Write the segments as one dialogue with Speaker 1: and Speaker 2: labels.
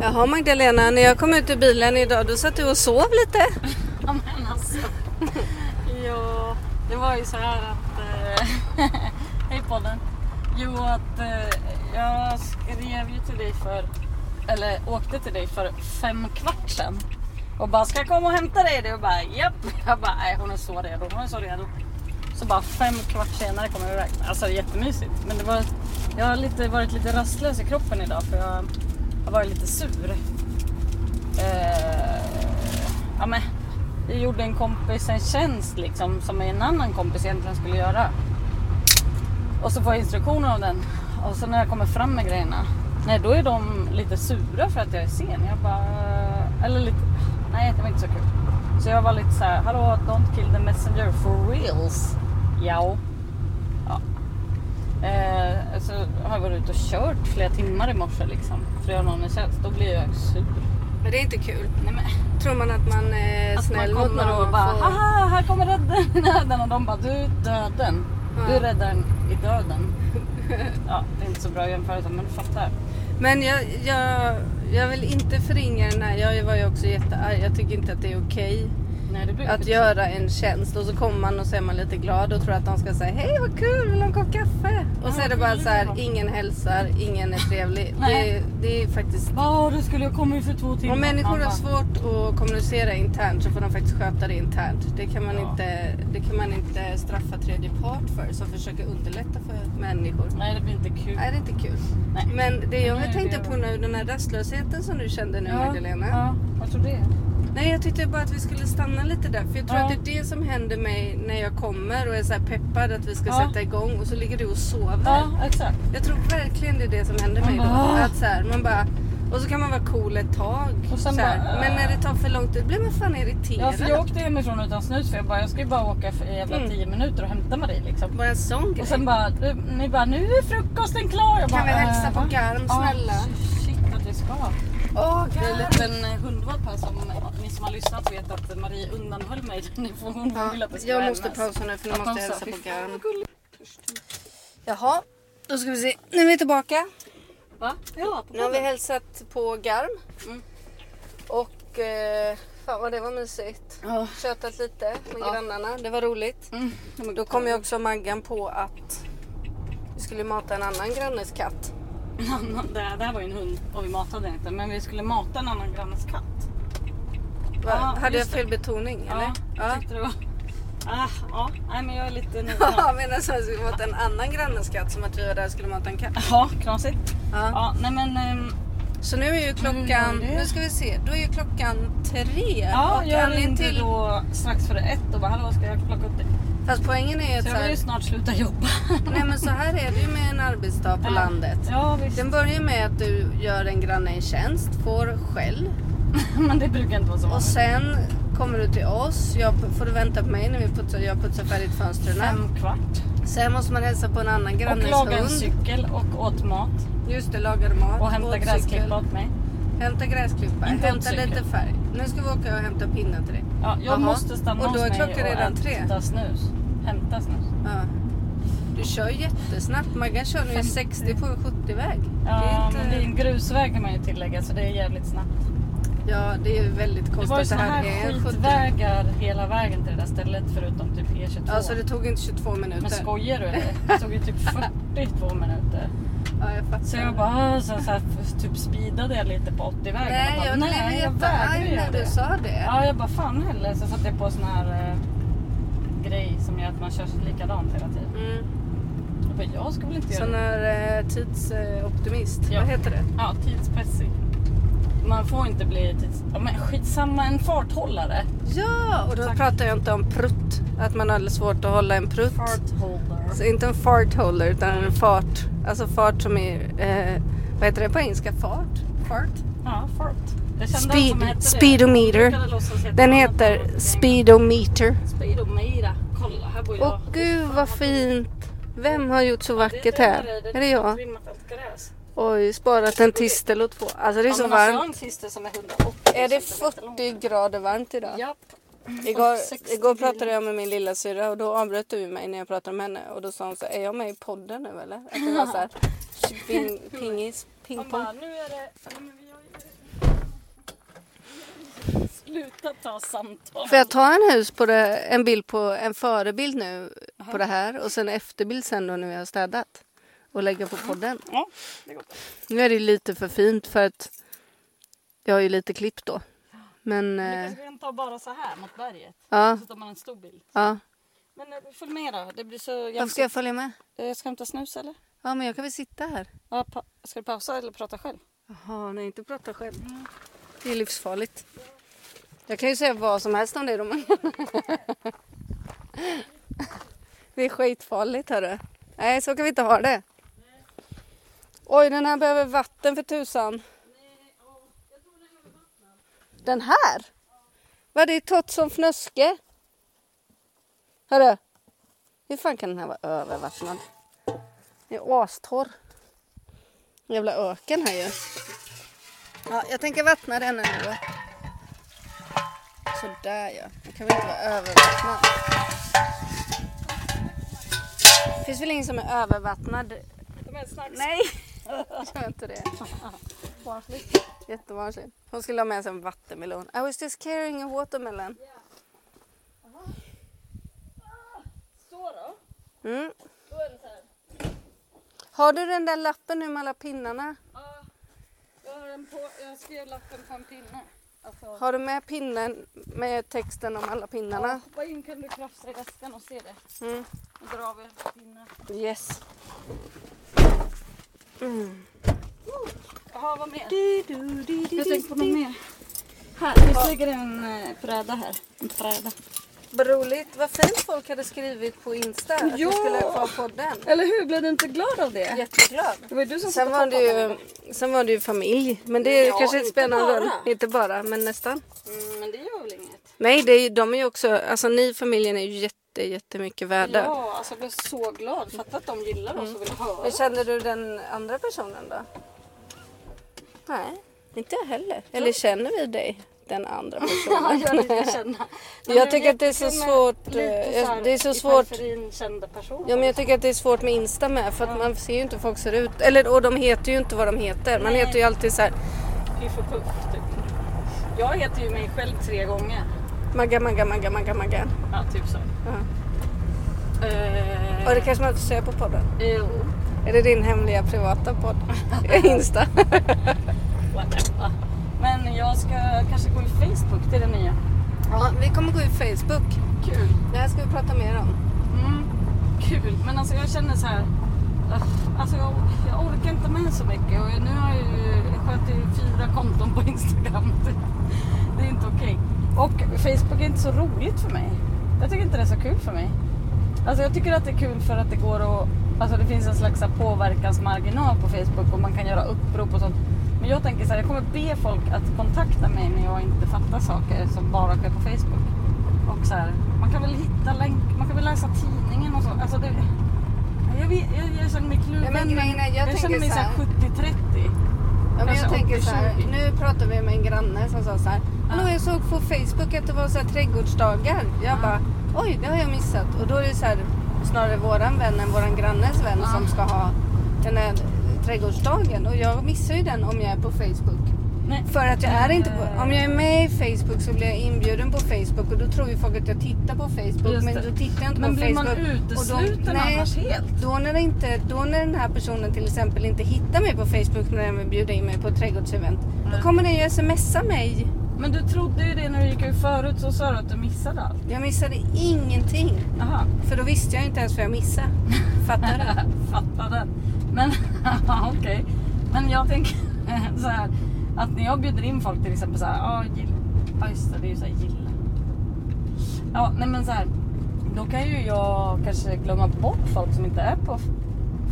Speaker 1: Jaha Magdalena, när jag kom ut ur bilen idag då satt du och sov lite.
Speaker 2: Ja men alltså. Jo, det var ju så här att... Eh, Hej podden. Jo att eh, jag skrev ju till dig för... Eller åkte till dig för fem kvart sedan. Och bara ska jag komma och hämta dig? Du bara japp. Jag bara nej hon är så redo, hon är så redo. Så bara fem kvart senare kommer du iväg. Alltså det är jättemysigt. Men det var, jag har lite, varit lite rastlös i kroppen idag för jag har varit lite sur. Eh, ja, men, jag gjorde en kompis en tjänst liksom, som en annan kompis egentligen skulle göra. Och så får jag instruktioner av den. Och så när jag kommer fram med grejerna, nej då är de lite sura för att jag är sen. Jag bara, eller lite, nej det var inte så kul. Så jag var lite så här, hallå don't kill the messenger for reals. Jao. Ja. Eh, så har jag varit ute och kört flera timmar i morse liksom. För att göra någon en tjänst. Då blir jag sur.
Speaker 1: Men det är inte kul.
Speaker 2: Nej, men.
Speaker 1: Tror man att man är
Speaker 2: Att man
Speaker 1: snäll mot någon
Speaker 2: kommer och
Speaker 1: man
Speaker 2: bara
Speaker 1: får-
Speaker 2: haha här kommer räddaren i döden och de bara du är döden. Du är räddaren i döden. Ja det är inte så bra jämförelse men du fattar.
Speaker 1: Men jag, jag, jag vill inte förringa den här. Jag var ju också jättearg. Jag tycker inte att det är okej
Speaker 2: Nej det brukar
Speaker 1: att göra en tjänst och så kommer man och så är man lite glad och tror att de ska säga hej vad kul, vill du ha en kopp kaffe? Och så är det bara så här, ingen hälsar, ingen är trevlig. Det,
Speaker 2: Nej.
Speaker 1: det är faktiskt
Speaker 2: Bara du skulle jag kommit för två timmar.
Speaker 1: Om människor
Speaker 2: Man
Speaker 1: har
Speaker 2: bara,
Speaker 1: svårt att kommunicera internt så får de faktiskt sköta det internt. Det kan man,
Speaker 2: Ja.
Speaker 1: inte, det kan man inte straffa tredje part för som försöker underlätta för människor.
Speaker 2: Nej det blir inte kul.
Speaker 1: Nej, det är inte kul.
Speaker 2: Nej.
Speaker 1: Men det
Speaker 2: nu
Speaker 1: jag
Speaker 2: är
Speaker 1: tänkte
Speaker 2: det-
Speaker 1: på nu, den här rastlösheten som du kände nu Magdalena.
Speaker 2: Ja, vad tror du det?
Speaker 1: Nej, jag tyckte bara att vi skulle stanna lite där. För jag tror
Speaker 2: Ja.
Speaker 1: att det är det som händer mig när jag kommer och är så här peppad att vi ska
Speaker 2: Ja.
Speaker 1: sätta igång och så ligger du och sover.
Speaker 2: Ja exakt.
Speaker 1: Jag tror verkligen det är det som händer mig då.
Speaker 2: Man bara, "Ah."
Speaker 1: Att så här, man bara, och så kan man vara cool ett tag.
Speaker 2: Och sen
Speaker 1: så här.
Speaker 2: bara, "Ah."
Speaker 1: men när det tar för lång tid blir man fan
Speaker 2: Ja,
Speaker 1: irriterad.
Speaker 2: för jag åkte hemifrån utan snus för jag bara jag ska ju bara åka för i jävla
Speaker 1: Mm.
Speaker 2: tio minuter och hämta Marie liksom.
Speaker 1: Bara en sån grej.
Speaker 2: Och sen bara, du- ni bara nu är frukosten klar. Jag bara,
Speaker 1: kan vi hälsa
Speaker 2: "Eh,
Speaker 1: på
Speaker 2: va?"
Speaker 1: Garm
Speaker 2: Ja,
Speaker 1: snälla?
Speaker 2: Shit att vi ska.
Speaker 1: Åh
Speaker 2: Det är en
Speaker 1: Garm!
Speaker 2: liten hundvalp här som ni som har lyssnat vet att Marie undanhöll mig den ifrån hon vill
Speaker 1: Ja,
Speaker 2: att det ska
Speaker 1: jag måste
Speaker 2: hämnas.
Speaker 1: pausa nu för nu
Speaker 2: Att
Speaker 1: måste jag
Speaker 2: de
Speaker 1: hälsa
Speaker 2: sa, "Fy
Speaker 1: på
Speaker 2: fan,
Speaker 1: Garm.
Speaker 2: vad gulligt."
Speaker 1: Jaha, då ska vi se. Nu är vi tillbaka.
Speaker 2: Va? Ja, på
Speaker 1: Nu har vi
Speaker 2: podden.
Speaker 1: hälsat på Garm.
Speaker 2: Mm.
Speaker 1: Och eh, fan vad det var mysigt.
Speaker 2: Ja.
Speaker 1: Tjötat lite med
Speaker 2: Ja.
Speaker 1: grannarna. Det var roligt.
Speaker 2: Mm, de är
Speaker 1: Då kom ju också Maggan på att vi skulle mata en annan grannes katt.
Speaker 2: En annan- Det här, det här var ju en hund och vi matade den inte men vi skulle mata en annan grannes katt.
Speaker 1: Va?
Speaker 2: Ja,
Speaker 1: Hade jag
Speaker 2: just det.
Speaker 1: fel betoning eller?
Speaker 2: Ja, jag tyckte det var... Ah, ja, nej men jag är lite noga.
Speaker 1: Ja, medan vi skulle mata en annan grannes katt som att vi var där och skulle mata en katt.
Speaker 2: Ja, knasigt.
Speaker 1: Ja.
Speaker 2: Ja, nej men... ehm,
Speaker 1: Så nu är ju klockan,
Speaker 2: Mm, det är det.
Speaker 1: nu ska vi se, då är ju klockan tre.
Speaker 2: Ja,
Speaker 1: Och
Speaker 2: jag
Speaker 1: anledningen
Speaker 2: ringde då strax före ett och bara hallå ska jag plocka upp dig?
Speaker 1: Fast poängen är ju att så
Speaker 2: Så jag vill
Speaker 1: här,
Speaker 2: ju snart sluta jobba.
Speaker 1: nej men så här är det ju med en arbetsdag på landet.
Speaker 2: Ja visst.
Speaker 1: Den börjar med att du gör en granne en tjänst, får skäll.
Speaker 2: Men det brukar inte vara så.
Speaker 1: Och sen kommer du till oss, jag, får du vänta på mig när vi putsar, jag putsar färdigt fönstren.
Speaker 2: Fem kvart.
Speaker 1: Sen måste man hälsa på en annan
Speaker 2: Och
Speaker 1: grannes
Speaker 2: lagade en
Speaker 1: hund.
Speaker 2: cykel och åt mat.
Speaker 1: Just det, lagar mat.
Speaker 2: Och hämta
Speaker 1: åt cykel.
Speaker 2: gräsklippa åt mig.
Speaker 1: Hämta gräsklippa,
Speaker 2: Inte åt
Speaker 1: hämta
Speaker 2: cykel.
Speaker 1: lite färg. Nu ska vi åka och hämta pinnen till dig.
Speaker 2: Ja, jag
Speaker 1: Jaha.
Speaker 2: måste stanna
Speaker 1: Och då är
Speaker 2: hos mig
Speaker 1: klockan redan
Speaker 2: och
Speaker 1: tre.
Speaker 2: äta snus. Hämta snus.
Speaker 1: Ja. Du kör jättesnabbt. Maggan kör nu i
Speaker 2: 50.
Speaker 1: 60 på en 70-väg.
Speaker 2: Ja,
Speaker 1: det är
Speaker 2: men det är en grusväg kan man ju tillägga så det är jävligt snabbt.
Speaker 1: Ja, det är väldigt
Speaker 2: Det
Speaker 1: konstigt
Speaker 2: var ju
Speaker 1: att det
Speaker 2: såna
Speaker 1: här,
Speaker 2: här
Speaker 1: är en 70
Speaker 2: skitvägar hela vägen till det där stället förutom typ E22.
Speaker 1: Alltså det tog inte 22 minuter.
Speaker 2: Men skojar du eller? Det tog ju typ 42 minuter.
Speaker 1: Ja, jag fattar.
Speaker 2: Så jag bara "Ah, så, så här, typ speedade jag lite på 80-vägen.
Speaker 1: Nej,
Speaker 2: bara,
Speaker 1: jag blev
Speaker 2: nej, jag vägrar
Speaker 1: jättearg
Speaker 2: göra
Speaker 1: när du
Speaker 2: det.
Speaker 1: sa det.
Speaker 2: Ja, jag bara fan heller. Så satte jag på sån här eh, grej som gör att man kör likadant hela tiden.
Speaker 1: Mm.
Speaker 2: Jag bara, jag ska väl inte göra
Speaker 1: Sån
Speaker 2: det.
Speaker 1: här eh, tidsoptimist.
Speaker 2: Ja.
Speaker 1: Vad heter det?
Speaker 2: Ja, tidspressig. Man får inte bli tids... Ja, men skitsamma, en farthållare.
Speaker 1: Ja, och då
Speaker 2: Tack.
Speaker 1: pratar jag inte om prutt. Att man har svårt att hålla en prutt.
Speaker 2: Fartholder.
Speaker 1: Så inte en fart holder utan en fart. Alltså fart som är... Eh, vad heter det på engelska? Fart? Fart?
Speaker 2: Ja, fart. Jag kände
Speaker 1: Speed-
Speaker 2: en som hette det.
Speaker 1: speedometer.
Speaker 2: Jag brukade låtsas heta
Speaker 1: Den
Speaker 2: något
Speaker 1: heter
Speaker 2: annat.
Speaker 1: speedometer.
Speaker 2: Speedometer. Kolla, här bor jag.
Speaker 1: Åh gud vad fint! Vem har gjort så
Speaker 2: Det är
Speaker 1: vackert
Speaker 2: där
Speaker 1: här? Är det jag?
Speaker 2: trimmat allt gräs.
Speaker 1: Oj, sparat en tistel åt två. Alltså det är
Speaker 2: Ja,
Speaker 1: så
Speaker 2: men alltså, jag har
Speaker 1: varmt.
Speaker 2: en tistel som är 180
Speaker 1: Är det
Speaker 2: centimeter lång.
Speaker 1: 40 grader varmt idag?
Speaker 2: Japp.
Speaker 1: Igår,
Speaker 2: 60
Speaker 1: igår pratade jag med min lilla syra och då avbröt du mig när jag pratade med henne och då sa hon så här, är jag med i podden nu eller? Att det var så här, ping, pingis,
Speaker 2: Han
Speaker 1: pingpong.
Speaker 2: bara, nu är det... Ja, men vi gör ju det. Sluta ta samtal.
Speaker 1: Får jag ta en, hus på det, en bild på en förebild nu på det här och sen efterbild sen då när vi har städat och lägga på podden.
Speaker 2: Ja, det går bra.
Speaker 1: Nu är det ju lite för fint för att jag har ju lite klipp då. Men
Speaker 2: Men
Speaker 1: eh,
Speaker 2: kanske kan ta bara så här mot berget.
Speaker 1: ja,
Speaker 2: Så tar man en stor bild.
Speaker 1: ja.
Speaker 2: Men eh, följ med då. Det blir så
Speaker 1: Varför
Speaker 2: jämnt.
Speaker 1: ska jag följa med?
Speaker 2: Eh, Ska du inte snus eller?
Speaker 1: Ja, men jag kan väl sitta här.
Speaker 2: Ja, pa- ska du pausa eller prata själv? Mm.
Speaker 1: Jaha, nej inte prata själv. Det är livsfarligt. Jag kan ju säga vad som helst om det Roman. det är skitfarligt hörru. Nej, så kan vi inte ha det. Oj, den här behöver vatten för tusan. Den här? Vad det är tott som fnöske. Hörru. Hur fan kan den här vara övervattnad? Den är astorr. Jävla öken här ju. Ja, jag tänker vattna den ändå. Sådär ja. Jag kan väl inte vara övervattnad. Det finns väl ingen som är övervattnad?
Speaker 2: De är snacks.
Speaker 1: Nej! Jag tror inte det. Jättevansinnigt. Hon skulle ha med sig en vattenmelon. I was just carrying a watermelon.
Speaker 2: Så då.
Speaker 1: Mm.
Speaker 2: Då är det så här.
Speaker 1: Har du den där lappen nu med alla pinnarna?
Speaker 2: Ja, jag, har en på, jag skrev lappen på en pinne. Alltså,
Speaker 1: Har du med pinnen med texten om alla
Speaker 2: ja,
Speaker 1: pinnarna?
Speaker 2: hoppa in kan du krafsa i väskan och se det.
Speaker 1: Mm.
Speaker 2: Och dra av er pinne.
Speaker 1: Yes.
Speaker 2: Jaha, vad mer?
Speaker 1: Jag
Speaker 2: Jag tänkte på något mer. Här, det ligger en eh, bräda här. En bräda.
Speaker 1: Vad roligt. Vad fint folk hade skrivit på Insta att
Speaker 2: Ja.
Speaker 1: vi skulle få podden.
Speaker 2: Eller hur? Blev du inte glad av det?
Speaker 1: Jätteglad.
Speaker 2: Det var ju du som
Speaker 1: Sen
Speaker 2: satte
Speaker 1: var,
Speaker 2: på
Speaker 1: det ju, sen var det ju familj, men det
Speaker 2: Ja,
Speaker 1: kanske inte
Speaker 2: inte
Speaker 1: spelar någon roll.
Speaker 2: bara.
Speaker 1: Inte bara, men nästan.
Speaker 2: den. Mm, men det gör väl inget?
Speaker 1: Nej, det är, ju- de är ju också, alltså ni familjen är ju jätte, jättemycket värda.
Speaker 2: Ja, alltså jag blev så glad. Fatta att de gillar oss och vill höra.
Speaker 1: Hur kände du den andra personen då? Nej, inte jag heller. Eller känner vi dig, den andra personen?
Speaker 2: Ja, jag vill känna. Men
Speaker 1: Jag
Speaker 2: det
Speaker 1: tycker att det är
Speaker 2: räcker
Speaker 1: så
Speaker 2: med
Speaker 1: svårt,
Speaker 2: lite
Speaker 1: eh, jag-
Speaker 2: här
Speaker 1: det är så
Speaker 2: i
Speaker 1: svårt.
Speaker 2: periferin kända personer.
Speaker 1: Ja, men jag tycker att det är svårt med Insta med för att man ser ju inte hur folk ser ut. Eller och de heter ju inte vad de heter. Man
Speaker 2: Nej.
Speaker 1: heter ju alltid så här
Speaker 2: Piff och Puff, typ. Jag heter ju mig själv tre gånger.
Speaker 1: Magga, Magga, Magga, Magga, Magga.
Speaker 2: Ja, typ så.
Speaker 1: Ja.
Speaker 2: Eh,
Speaker 1: Och det kanske man inte får säga på podden.
Speaker 2: Jo,
Speaker 1: Är det din hemliga privata podd? Insta?
Speaker 2: whatever. Men jag ska kanske gå i Facebook, det är det nya.
Speaker 1: Ja, vi kommer gå ut Facebook.
Speaker 2: Kul.
Speaker 1: Det här ska vi prata mer om.
Speaker 2: Mm, kul, men alltså jag känner så här. eh, Alltså jag, jag orkar inte med så mycket och nu har jag ju jag sköt ju fyra konton på Instagram. typ. Det, det är inte okej. Och Facebook är inte så roligt för mig. Jag tycker inte det är så kul för mig. Alltså jag tycker att det är kul för att det går att, alltså det finns en slags så här påverkansmarginal på Facebook och man kan göra upprop och sånt. Men jag tänker så här, jag kommer be folk att kontakta mig när jag inte fattar saker som bara sker på Facebook. Och så här, man kan väl hitta länk, man kan väl läsa tidningen och så. Alltså det, jag, vet, jag, jag känner mig kluven.
Speaker 1: Ja, men grejen är, jag
Speaker 2: jag
Speaker 1: tänker
Speaker 2: känner mig
Speaker 1: så
Speaker 2: så här
Speaker 1: här-
Speaker 2: 70-30.
Speaker 1: Ja, men
Speaker 2: Kanske
Speaker 1: jag tänker så här,
Speaker 2: 80-20.
Speaker 1: nu pratar vi med en granne som sa så här. Hallå, jag såg på Facebook att det var så här trädgårdsdagar. Jag bara, oj, det har jag missat. Och då är det så här, snarare våran vän än våran grannes vän
Speaker 2: Ja.
Speaker 1: som ska ha den här trädgårdsdagen. Och jag missar ju den om jag är på Facebook.
Speaker 2: Nej.
Speaker 1: För att jag är inte på...
Speaker 2: Eh.
Speaker 1: Om jag är med i Facebook så blir jag inbjuden på Facebook och då tror ju folk att jag tittar på Facebook
Speaker 2: Just
Speaker 1: men
Speaker 2: det.
Speaker 1: då tittar jag inte
Speaker 2: Men
Speaker 1: på
Speaker 2: blir
Speaker 1: Facebook.
Speaker 2: man utesluten
Speaker 1: och då, nej,
Speaker 2: annars helt?
Speaker 1: Då när, det inte, då när den här personen till exempel inte hittar mig på Facebook när den vill bjuda in mig på ett trädgårdsevent då
Speaker 2: Nej.
Speaker 1: kommer den ju smsa mig.
Speaker 2: Men du trodde ju det när du gick ut förut så sa du att du missade allt.
Speaker 1: Jag missade ingenting.
Speaker 2: Jaha,
Speaker 1: För då visste jag inte ens vad jag missade. Fattar du?
Speaker 2: fattade. Men okej. Men jag tänker så här att när jag bjuder in folk till exempel så här, ja gilla. Ja just det, det är ju så här gilla. Ja nej men så här. Då kan ju jag kanske glömma bort folk som inte är på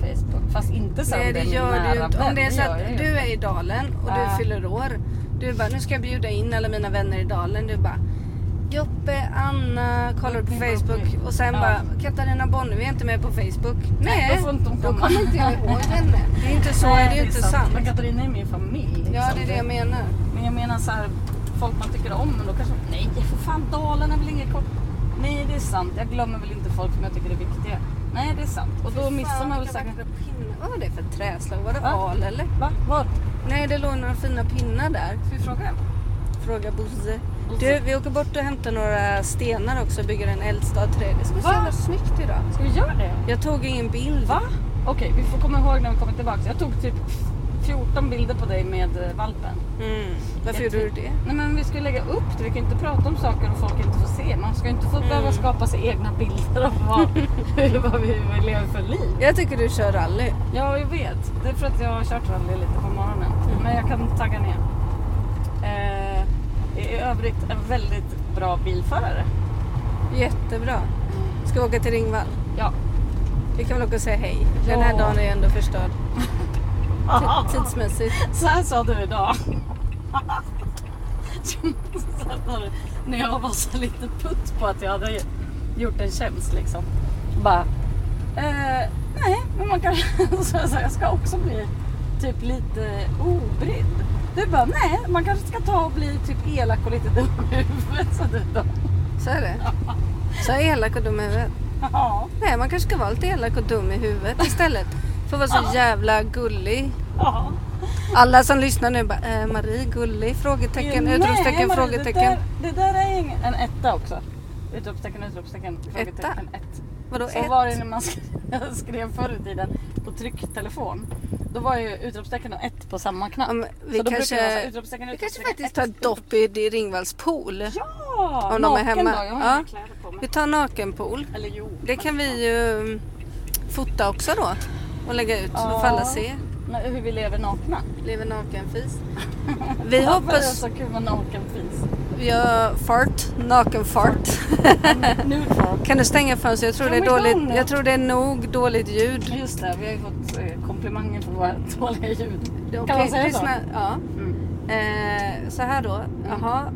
Speaker 2: Facebook. Fast inte så
Speaker 1: Nej
Speaker 2: här om
Speaker 1: det
Speaker 2: är min
Speaker 1: gör du ju
Speaker 2: nära
Speaker 1: inte. Om
Speaker 2: vän,
Speaker 1: det är så
Speaker 2: gör jag ju
Speaker 1: att du
Speaker 2: inte.
Speaker 1: är i Dalen och
Speaker 2: Ja.
Speaker 1: du fyller år. Du bara, nu ska jag bjuda in alla mina vänner i Dalen. Du bara, Joppe, Anna, kollar du på
Speaker 2: Joppe,
Speaker 1: Facebook?
Speaker 2: Joppe.
Speaker 1: Och sen
Speaker 2: Mm, Ja.
Speaker 1: bara, Katarina Bonnevi är inte med på Facebook.
Speaker 2: Nej,
Speaker 1: Nej,
Speaker 2: då får inte hon
Speaker 1: då
Speaker 2: komma.
Speaker 1: kommer inte jag ihåg henne. Det är inte så,
Speaker 2: Nej,
Speaker 1: det är ju inte
Speaker 2: sant.
Speaker 1: sant.
Speaker 2: Men Katarina är min familj. Liksom.
Speaker 1: Ja, det är det jag menar.
Speaker 2: Men jag menar så här, folk man tycker om, men då kanske nej för fan Dalen är väl inget kort. Nej det är sant, jag glömmer väl inte folk som jag tycker är viktiga. Nej det är sant. Och då missar man väl säkert...
Speaker 1: Vad var det för träslag? Var det
Speaker 2: Va?
Speaker 1: al eller?
Speaker 2: Va? Var?
Speaker 1: Nej, det låg några fina pinnar där.
Speaker 2: Ska vi fråga?
Speaker 1: Fråga Bosse.
Speaker 2: Då-
Speaker 1: Du, vi åker bort och hämtar några stenar också och bygger en eldstad till dig. Det ska bli så
Speaker 2: Va?
Speaker 1: jävla snyggt idag.
Speaker 2: Ska vi göra det?
Speaker 1: Jag tog ingen bild.
Speaker 2: Va? Okej, vi får komma ihåg när vi kommer tillbaka. Jag tog typ 14 bilder på dig med eh, valpen.
Speaker 1: Mm. Varför
Speaker 2: Jag
Speaker 1: gjorde du det?
Speaker 2: Nej men vi ska ju lägga upp det. Vi kan ju inte prata om saker och folk inte får se. Man ska ju inte få behöva skapa sig egna bilder av vad, hur- vad vi vad vi lever för liv.
Speaker 1: Jag tycker du kör rally.
Speaker 2: Ja, jag vet. Det är för att jag har kört rally lite på morgonen. Men jag kan tagga ner. Eh, I övrigt en väldigt bra bilförare.
Speaker 1: Jättebra. Ska vi åka till Ringvall?
Speaker 2: Ja.
Speaker 1: Vi kan väl åka och säga hej. Den här
Speaker 2: Ja.
Speaker 1: dagen är ju ändå förstörd. Ti- Tidsmässigt.
Speaker 2: Så här sa du idag. Jag måste säga när du- när jag var så lite putt på att jag hade gjort en tjänst liksom. Bara, eh, nej, men man kan... Så jag, sa, jag ska också bli typ lite obrydd. Du bara, nej, man kanske ska ta och bli typ elak och lite dum i huvudet. sa du då.
Speaker 1: Så är det. Så elak och dum i huvudet.
Speaker 2: Ja,
Speaker 1: Nej, man kanske ska vara lite elak och dum i huvudet istället. För att vara så jävla gullig.
Speaker 2: ja.
Speaker 1: Alla som lyssnar nu bara, eh, Marie gullig? Frågetecken,
Speaker 2: Nej,
Speaker 1: utropstecken,
Speaker 2: Marie, Det
Speaker 1: frågetecken.
Speaker 2: där, det där är ingen- en etta också. Utropstecken, utropstecken, frågetecken, ett.
Speaker 1: Vadå
Speaker 2: Så
Speaker 1: ett?
Speaker 2: var det när man sk- skrev förr i tiden på trycktelefon. Då var ju utropstecken och ett på samma knapp.
Speaker 1: Ja, men vi
Speaker 2: så då
Speaker 1: kanske-
Speaker 2: brukade det vara så, utropstecken,
Speaker 1: Vi kanske
Speaker 2: utropstecken,
Speaker 1: faktiskt
Speaker 2: ett.
Speaker 1: tar ett dopp i i Ringvalls pool.
Speaker 2: Ja!
Speaker 1: om de är
Speaker 2: naken
Speaker 1: hemma.
Speaker 2: Då. Jag har
Speaker 1: Ja.
Speaker 2: inga kläder på mig.
Speaker 1: Vi tar nakenpool.
Speaker 2: Eller jo.
Speaker 1: Det kan vi ju mm, fota också då. Och lägga ut så
Speaker 2: Ja.
Speaker 1: får alla se.
Speaker 2: Men Hur vi lever nakna.
Speaker 1: Lever nakenfis. Vi
Speaker 2: Varför är det
Speaker 1: hoppas...
Speaker 2: så kul med nakenfis.
Speaker 1: Ja, fart. Nakenfart.
Speaker 2: Nudfolk.
Speaker 1: Kan du stänga fönstret? Jag tror, det
Speaker 2: Kom
Speaker 1: är dåligt,
Speaker 2: igång.
Speaker 1: jag tror det är nog dåligt ljud.
Speaker 2: Just det, vi har ju fått eh, komplimanger för våra dåliga ljud.
Speaker 1: Okej,
Speaker 2: Kan man säga så?
Speaker 1: lyssna. Ja.
Speaker 2: Mm.
Speaker 1: Eh, så här då. Jaha,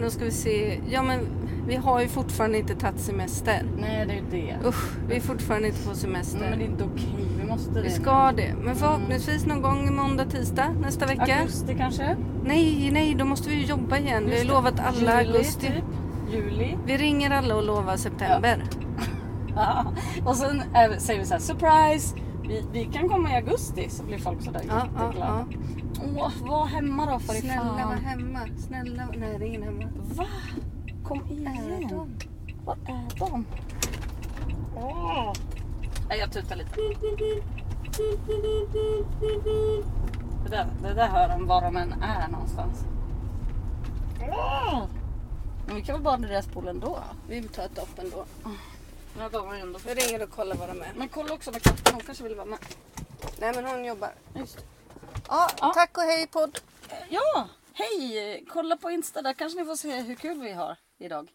Speaker 1: nu ska vi se. Ja, men vi har ju fortfarande inte tagit semester.
Speaker 2: Nej, det är ju det.
Speaker 1: Usch, vi är fortfarande inte på
Speaker 2: Nej, Mm, men det är
Speaker 1: semester.
Speaker 2: inte okej. Vi måste
Speaker 1: Vi
Speaker 2: det.
Speaker 1: ska det. Men förhoppningsvis någon gång måndag, tisdag nästa vecka.
Speaker 2: Augusti kanske?
Speaker 1: Nej, nej, då måste vi ju jobba igen. Vi har
Speaker 2: Just
Speaker 1: ju
Speaker 2: det.
Speaker 1: lovat alla
Speaker 2: Juli,
Speaker 1: augusti.
Speaker 2: Typ. Juli.
Speaker 1: Vi ringer alla och lovar september.
Speaker 2: Ja. Och sen eh, säger vi så här, surprise! Vi, vi kan komma i augusti så blir folk sådär
Speaker 1: Ja, ja,
Speaker 2: jätteglada.
Speaker 1: ja.
Speaker 2: Åh, var hemma då för i
Speaker 1: Snälla var
Speaker 2: fan.
Speaker 1: hemma. Snälla. Nej, det är ingen hemma.
Speaker 2: Va? Kom
Speaker 1: Är
Speaker 2: igen.
Speaker 1: de?
Speaker 2: Vad är de? Åh. Nej, jag tutar lite. Det där, det där hör de var de än är någonstans. Åh. Men vi kan väl bada i deras pool ändå?
Speaker 1: Vi tar ett dopp ändå.
Speaker 2: Men jag badar ju ändå för-
Speaker 1: Jag ringer och kollar vad de är.
Speaker 2: Men kolla också med katten, hon kanske vill vara med.
Speaker 1: Nej, men hon jobbar.
Speaker 2: Just.
Speaker 1: Ja,
Speaker 2: Ja.
Speaker 1: tack och hej podd.
Speaker 2: Ja, hej! Kolla på Insta, där kanske ni får se hur kul vi har idag.